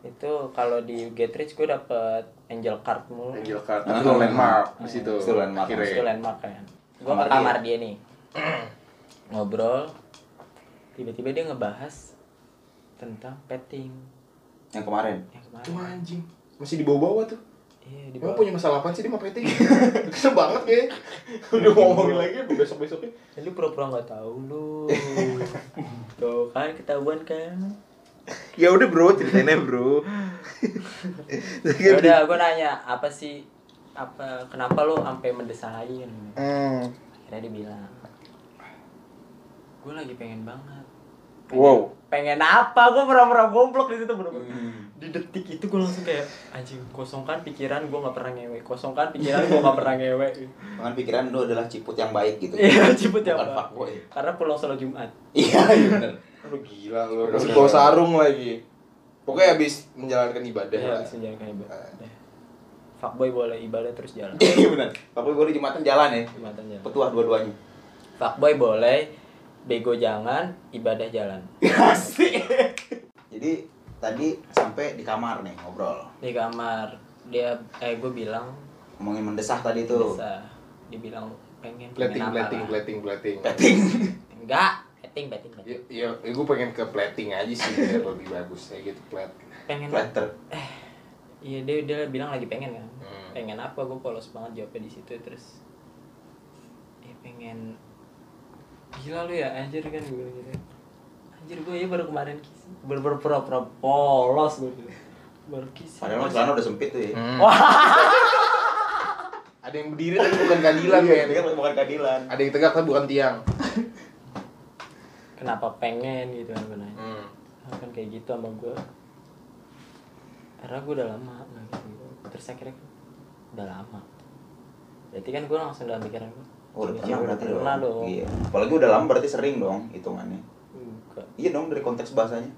S1: itu kalau di Get Rich gue dapat angel card mulu
S3: Angel card,
S2: Ah,
S3: itu
S1: ah,
S3: landmark di situ.
S2: itu landmark,
S3: Akhirnya.
S1: itu landmark kan gue
S2: Kamar
S1: ke kamar dia nih ngobrol tiba-tiba dia ngebahas tentang petting
S2: Yang kemarin.
S1: yang
S3: Cuma
S1: kemarin
S3: anjing masih dibawa-bawa tuh.
S1: iya di
S3: Emang
S1: bawah.
S3: punya masalah apa sih dia sama PT? Kesel banget ya. Udah mau ngomongin lagi besok besoknya.
S1: Ya, lu pura-pura nggak tahu lu tuh kan ketahuan kan
S2: Ya udah bro, ceritain bro.
S1: ya udah gue nanya apa sih apa kenapa lu sampai mendesain
S3: Hmm.
S1: akhirnya dia bilang gue lagi pengen banget
S3: Wow.
S1: pengen apa gue pura-pura goblok di situ bener
S2: Hmm.
S1: di detik itu gue langsung kayak anjing kosongkan pikiran gue nggak pernah ngewe kosongkan pikiran gue nggak pernah ngewe
S2: Dengan pikiran lu adalah ciput yang baik gitu.
S1: iya ciput ya
S2: Bukan
S1: Pak.
S2: fuckboy.
S1: karena pulang sholat jumat
S2: Iya, iya bener.
S3: Aduh gila lu. Terus bawa sarung lagi. Pokoknya habis menjalankan ibadah
S1: ya
S3: lah.
S1: habis menjalankan ibadah fuckboy boleh ibadah terus jalan
S2: Iya bener. Tapi gue di Jumatan jalan ya.
S1: jumatan jalan
S2: Petuah dua-duanya.
S1: Fuckboy boleh, bego jangan, ibadah jalan.
S2: Asik. Jadi tadi sampai di kamar nih ngobrol.
S1: Di kamar dia eh gue bilang
S2: Ngomongin mendesah tadi tuh.
S1: bisa dibilang pengen
S3: Plating,
S1: pengen
S3: plating,
S1: apa lah.
S3: plating, plating.
S1: Enggak, petting petting petting.
S3: Ya, ya, gue pengen ke plating aja sih biar lebih bagus ya gitu plat.
S1: Pengen
S2: Flatter.
S1: Iya dia dia bilang lagi pengen kan.
S3: Hmm.
S1: Pengen apa? Gue polos banget jawabnya di situ terus. Ya pengen gila lu ya anjir kan gue bilang gitu. Anjir gue ya baru kemarin kisi. Baru baru pura-pura polos gue gitu. Baru kisi.
S2: Padahal mah celana udah sempit tuh ya.
S3: Wah. Ada yang berdiri tapi bukan keadilan
S2: Iya,
S3: men.
S2: ini kan bukan keadilan.
S3: Ada yang tegak tapi bukan tiang.
S1: Kenapa pengen gitu kan gue nanya.
S3: Hmm.
S1: akan kayak gitu sama gue karena gue udah lama nggak gitu terus akhirnya udah lama berarti kan gue langsung dalam pikiran gue
S2: Oh, udah pernah berarti dong.
S1: pernah dong
S2: Iya. Apalagi udah lama berarti sering dong hitungannya.
S1: enggak
S2: Iya dong dari konteks bahasanya.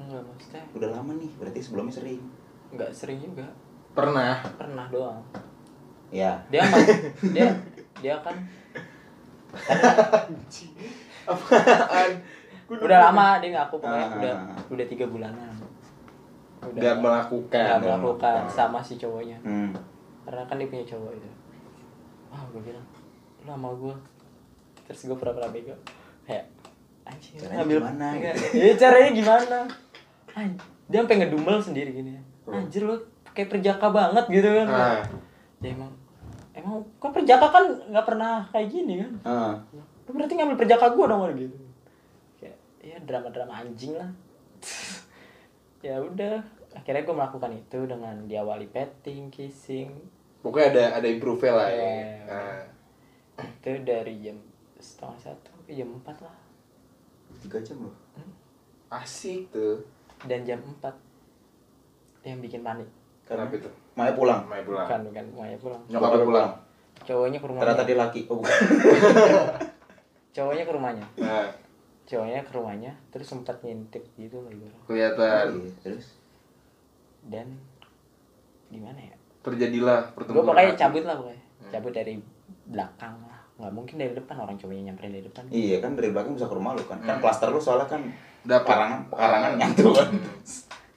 S1: enggak maksudnya
S2: Udah lama nih, berarti sebelumnya sering.
S1: enggak sering juga
S3: Pernah.
S1: pernah doang
S2: Ya.
S1: dia mah dia dia kan
S3: Apaan?
S1: udah lama dia ngaku pokoknya
S2: Ah.
S1: udah udah tiga bulanan
S3: Udah melakukan.
S1: udah
S2: udah
S1: melakukan
S2: melakukan.
S1: sama si cowoknya
S2: Hmm.
S1: karena kan dia punya cowok itu wah gue bilang lu sama gue terus gue pura-pura bego kayak anjing
S2: Caranya gimana,
S1: Iya,
S2: gitu.
S1: iya caranya gimana Anj- dia sampai ngedumel sendiri gini
S2: Oh.
S1: anjir lu kayak perjaka banget gitu kan
S3: Ah.
S1: ya emang emang kok perjaka kan nggak pernah kayak gini kan
S2: Ah.
S1: lu berarti ngambil perjaka gue dong kalau gitu kayak ya drama-drama anjing lah ya udah akhirnya gue melakukan itu dengan diawali petting kissing
S3: Pokoknya ada ada improve lah ya.
S1: Iya.
S3: Ah.
S1: itu dari jam setengah satu ke jam empat lah
S2: Tiga jam loh.
S3: Asik tuh.
S1: dan jam empat yang bikin panik
S3: Kenapa itu?
S2: Maya pulang.
S3: Main pulang.
S1: bukan bukan Maya pulang
S3: Nyokapnya pulang.
S1: cowoknya ke rumahnya
S2: Ternyata dia laki. Oh, bukan.
S1: cowoknya ke rumahnya
S3: Nah,
S1: cowoknya ke rumahnya terus sempat ngintip gitu loh ibarat.
S3: kelihatan.
S2: Iya, terus
S1: dan gimana ya
S3: Terjadilah
S1: gue
S3: pertemuan.
S1: pokoknya cabut lah pokoknya cabut dari belakang lah nggak mungkin dari depan orang cowoknya nyamperin dari depan
S2: Iya kan dari belakang bisa ke rumah lu kan. Kan klaster lu soalnya kan
S3: Dapat.
S2: karangan
S3: Ah.
S2: karangan nyatu kan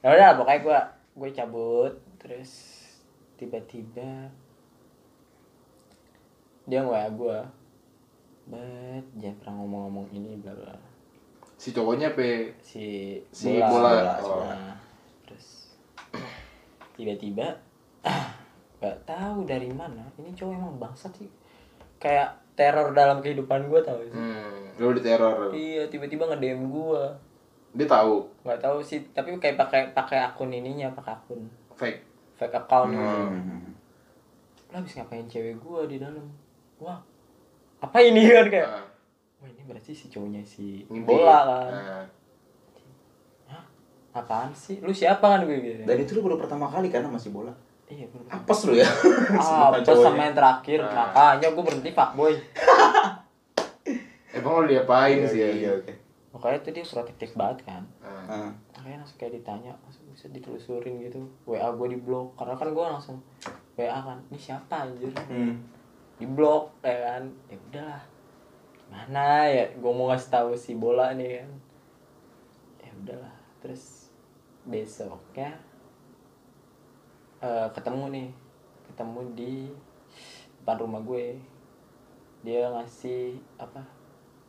S1: ya udah lah, pokoknya gue gue cabut terus tiba-tiba dia nge WA gue bet jangan pernah ngomong-ngomong ini bla bla
S3: Si cowoknya pe
S1: si
S3: Si bola.
S2: Oh.
S1: Nah, terus tiba-tiba nggak tahu dari mana ini cowok emang bangsat sih kayak teror dalam kehidupan gue tau sih
S3: Hmm, lu diteror.
S1: iya tiba-tiba nge DM gue
S3: Dia tahu
S1: nggak tahu sih tapi kayak pakai pakai akun ininya pakai akun
S3: fake.
S1: fake account
S2: Hmm.
S1: lah habis ngapain cewek gue di dalam wah apa ini kan kayak
S3: Ah,
S1: wah ini berarti si cowoknya si
S3: ngintip.
S1: bola kan
S2: Nah.
S3: Ah.
S1: apaan sih lu siapa kan gue gitu
S2: dan itu lu baru pertama kali karena masih bola
S1: iya bener.
S2: apes lu ya
S1: ah
S2: Semua
S1: pas
S2: cowoknya. Nah.
S1: sama yang terakhir
S3: Ah.
S1: makanya gue berhenti pak boy
S3: Emang lu diapain
S2: Iya,
S3: sih?
S2: iya,
S3: ya?
S2: iya, oke
S1: makanya tuh dia suka aktif banget kan
S3: Ah.
S2: Ah.
S1: makanya langsung kayak ditanya langsung bisa ditelusurin gitu wa gue di blok karena kan gue langsung wa kan ini siapa anjir
S2: Hmm.
S1: di blok ya kan ya udahlah gimana ya gue mau ngasih tahu si bola nih kan ya udahlah terus besoknya eh, ketemu nih ketemu di depan rumah gue dia ngasih apa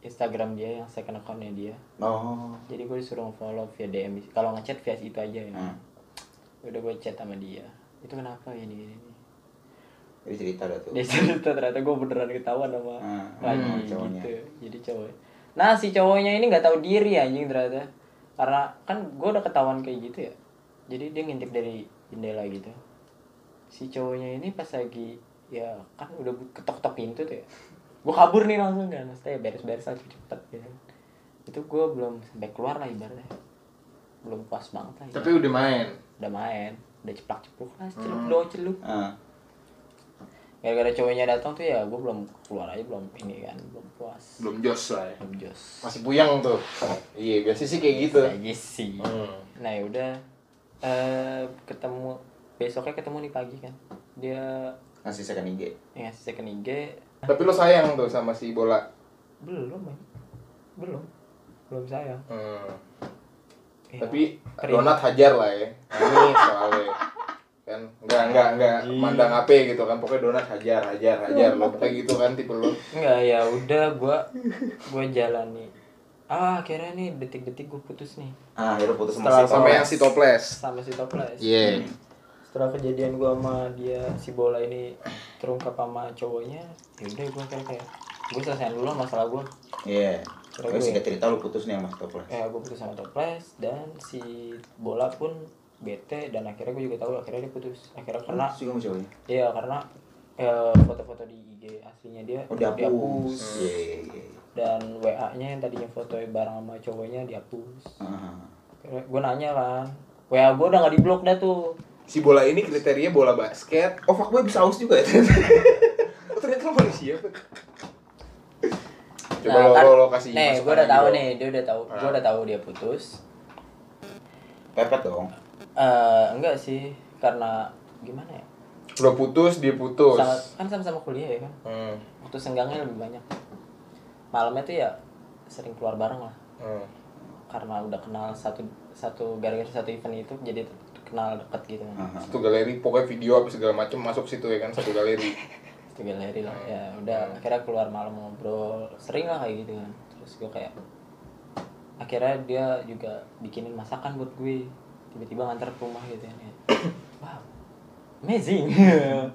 S1: Instagram dia yang second accountnya dia
S2: oh
S1: jadi gue disuruh follow via DM kalau ngechat via itu aja ya
S2: Hmm.
S1: udah gue chat sama dia itu kenapa ini ini
S2: jadi cerita dah tuh
S1: dia cerita ternyata gue beneran ketahuan sama
S2: Hmm,
S1: lagi
S2: hmm, cowoknya.
S1: gitu jadi cowok nah si cowoknya ini nggak tahu diri anjing ternyata karena kan gue udah ketahuan kayak gitu ya jadi dia ngintip dari jendela gitu si cowoknya ini pas lagi ya kan udah bu- ketok-ketok pintu tuh ya gue kabur nih langsung kan maksudnya ya beres-beres aja cepet gitu itu gue belum sampai keluar lah ibaratnya belum pas banget lah ya.
S3: Tapi udah main.
S1: udah main udah ceplak-cepluk lah celup dong celup
S2: Ah.
S1: gara-gara cowoknya datang tuh ya gue belum keluar aja belum ini kan belum puas
S3: Belum jos lah ya.
S1: belum jos
S3: Masih puyeng tuh. Iya, biasa sih kayak gitu.
S1: aja sih
S3: Hmm.
S1: nah yaudah eh ketemu besoknya ketemu nih pagi kan dia
S2: ngasih second IG
S1: yang ngasih second IG
S3: Tapi lo sayang tuh sama si bola.
S1: belum man. belum belum sayang
S3: Hmm.
S1: Iya.
S3: Tapi
S1: Kering.
S3: donat hajar lah ya. Ini soalnya kan enggak enggak enggak mandang apa gitu kan pokoknya donat hajar hajar hajar lo kayak gitu kan tipe lo.
S1: enggak ya udah gue gue jalan nih ah akhirnya nih detik-detik gue putus nih
S2: ah akhirnya putus
S1: Setelah
S2: sama si
S3: Sama
S1: Toples.
S3: ya? yang si toples.
S1: sama si toples
S3: Iya.
S1: setelah kejadian gua sama dia si bola ini terungkap sama cowoknya ya udah gua kayak kayak gue selesai dulu lah masalah gua
S2: iya
S1: Terus
S2: Tapi
S1: gue-
S2: singkat cerita lu putus nih sama si Toples
S1: ya gue putus sama toples dan si bola pun bete dan akhirnya gue juga tahu akhirnya dia putus akhirnya karena
S2: Putus juga sama cowoknya
S1: iya karena eh, foto-foto di IG aslinya dia
S2: oh dihapus iya iya iya
S1: dan WA nya yang tadinya foto bareng sama cowoknya dihapus
S2: Ah.
S1: akhirnya gue nanya kan WA gue udah gak di blok dah tuh
S3: Si bola ini kriteria bola basket.
S2: oh fuckboy bisa aus juga ya
S3: Oh, ternyata lo manusia. Coba
S1: Nah,
S3: lo,
S1: kan-
S3: lo, lo kasih
S1: nih gue
S3: masukan
S1: udah
S3: lagi
S1: tahu
S3: dong.
S1: nih dia udah tahu gue
S3: Ah.
S1: udah tahu dia putus
S2: pepet dong
S1: Eh, enggak sih, karena gimana ya?
S3: Udah putus, dia putus.
S1: Sama, kan sama-sama kuliah ya kan.
S3: Hmm.
S1: Waktu senggangnya lebih banyak. Malamnya tuh ya sering keluar bareng lah.
S3: Hmm.
S1: Karena udah kenal satu satu gara-gara satu event itu jadi kenal deket gitu. kan.
S2: Ah.
S3: Satu galeri pokoknya video apa segala macem masuk situ ya kan satu galeri.
S1: Itu galeri lah. Ya udah akhirnya keluar malam ngobrol, sering lah kayak gitu kan. Terus gue kayak akhirnya dia juga bikinin masakan buat gue tiba-tiba nganter ke rumah gitu kan ya. wow amazing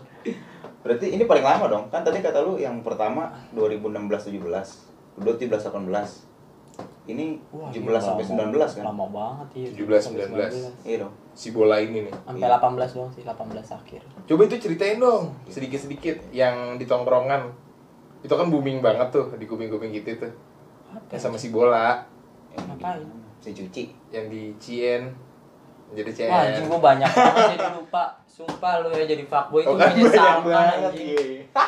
S2: Berarti ini paling lama dong. Kan tadi kata lu yang pertama 2016 17, kedua 17 18. Ini
S1: Wah,
S2: 17
S1: gila,
S2: sampai
S1: lama-
S2: 19 kan?
S1: Lama banget iya. 19.
S3: 17,
S2: Iya dong.
S3: Si bola ini nih.
S2: Iya.
S1: Sampai 18 doang sih, 18 akhir.
S3: Coba itu ceritain dong sedikit-sedikit yang di tongkrongan. Itu kan booming banget tuh di kuping-kuping gitu tuh.
S1: Apa?
S3: Yang sama si bola,
S2: Yang
S1: Ngapain?
S2: Ya, Si cuci.
S3: yang di Cien. Jadi Cien.
S1: Wah, anjing gua banyak banget jadi lupa. Sumpah lu ya jadi fuckboy itu
S3: Oh, kan banyak
S1: menyebalkan
S3: banget.
S1: anjing.
S3: iya.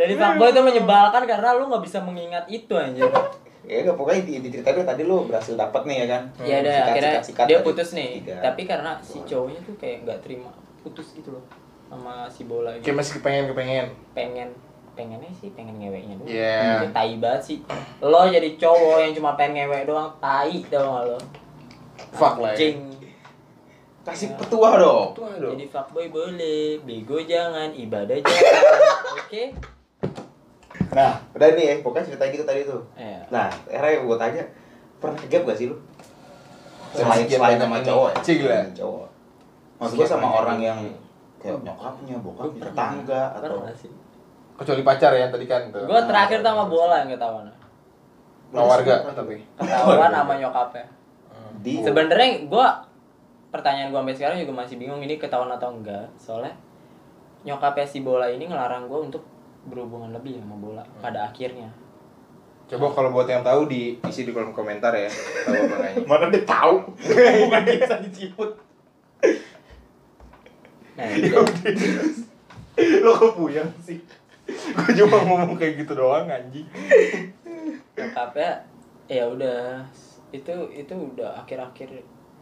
S1: Jadi fuckboy itu menyebalkan karena lu nggak bisa mengingat itu anjir.
S2: Ya udah pokoknya di, di cerita lu tadi lu berhasil dapat nih ya kan.
S1: Ya udah
S2: Sikat,
S1: akhirnya
S2: sikat, sikat
S1: dia
S2: tadi.
S1: putus nih.
S2: Tiga.
S1: Tapi karena si cowoknya tuh kayak nggak terima putus gitu loh sama si bola gitu.
S3: Kayak masih kepengen-kepengen.
S1: Pengen pengennya sih pengen ngeweknya dulu Jadi
S3: Iya.
S1: tai banget sih lo jadi cowok yang cuma pengen ngewek doang tai dong lo
S3: Fuck lah ya.
S1: Anjing. Ya.
S2: Kasih petua dong.
S3: Tuh aduh.
S1: jadi fuckboy boleh bego jangan ibadah jangan oke
S2: Nah, udah nih ya, pokoknya cerita gitu tadi tuh.
S1: Eh,
S2: Nah, era yang gue tanya, pernah gap gak sih lu?
S3: Sama
S2: Selain,
S3: si gap
S2: selain
S3: banyak
S2: sama
S3: ini.
S2: cowok ya?
S3: Cih, gila.
S2: Sama Cowok. Maksud gue
S3: Gap
S2: sama
S3: banyak
S2: orang
S3: ini.
S2: yang kayak nyokapnya, bokapnya,
S1: pernah.
S2: tetangga, atau...
S1: pernah sih
S3: Kecuali pacar ya tadi kan. tuh.
S1: gue terakhir tuh sama bola yang ketahuan
S3: Sama warga tapi.
S1: ketahuan sama nyokapnya
S2: Di...
S1: sebenarnya gue pertanyaan gue sampai sekarang juga masih bingung ini ketahuan atau enggak soalnya nyokapnya si bola ini ngelarang gue untuk berhubungan lebih sama bola pada akhirnya
S3: Coba kalau buat yang tahu diisi di kolom komentar ya. Tahu apa kayaknya.
S2: Mana dia tahu? Bukan bisa diciput.
S1: nah itu
S3: Lo kok puyeng sih? Gue cuma ngomong kayak gitu doang anjing.
S1: nyokapnya ya udah itu itu udah akhir-akhir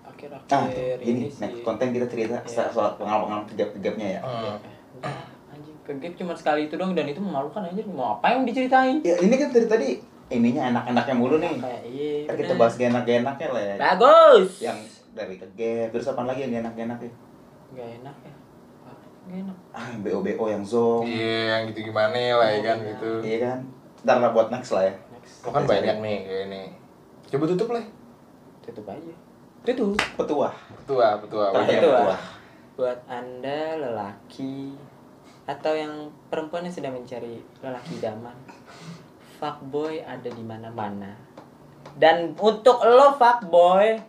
S1: akhir-akhir
S2: Nah, tuh,
S1: ini
S2: ini next
S1: sih
S2: konten kita cerita
S1: Iya. Oh.
S2: soal pengalaman kegap-gegapnya ya.
S3: Hmm.
S1: Eh, Udah, anjing kegep cuma sekali itu dong dan itu memalukan anjir mau apa yang diceritain
S2: Ya, ini kan dari tadi ininya enak-enaknya mulu nih.
S1: kayak iya
S2: Ntar kita
S1: bener.
S2: bahas gak enak-enaknya lah
S1: Nah.
S2: ya.
S1: bagus
S2: Yang dari kegap, terus apa lagi yang gak enak-enaknya?
S1: nggak enak ya nggak enak
S2: Ah, BO-BO yang zong.
S3: Iya, yang gitu gimana lah ya kan gitu.
S2: Iya kan? Ntar lah buat next lah ya.
S1: next
S3: Lo kan banyak nih kayak ini. Coba tutup lah.
S1: tutup aja tutup
S2: Petua.
S3: Petua, petua.
S2: Terakhir
S1: Petua.
S2: petua.
S1: buat anda lelaki atau yang perempuan yang sedang mencari lelaki idaman fuckboy ada di mana mana dan untuk lo fuckboy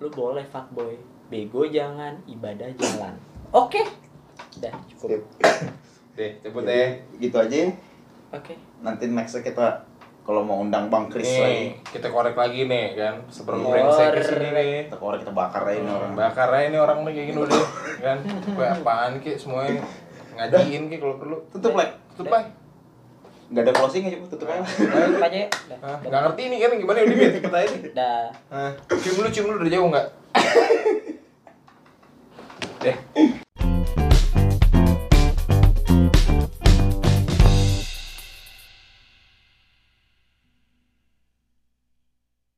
S1: lo boleh fuckboy bego jangan ibadah jalan oke udah cukup
S2: Sip.
S1: oke
S3: Deh, cepet deh.
S2: Gitu aja. ya. Nanti nextnya kita kalau mau undang Bang Kris lagi.
S3: Nih, kita korek lagi nih kan. Sebelum
S1: Korek.
S3: brengsek ke sini nih.
S2: Kita korek kita bakar aja ini orang.
S3: orang bakar aja ini orang nih kayak gini udah kan kayak apaan ki semuanya ngajiin ki kalau perlu
S2: Tutup like.
S3: tutup lah
S2: Gak ada closing aja, tutup aja.
S1: tutup aja ya
S3: Hah,
S1: udah
S3: nggak ngerti nih kan gimana udah biar cepet aja nih
S1: udah
S3: Hah, cium lu cium lu dari jauh nggak deh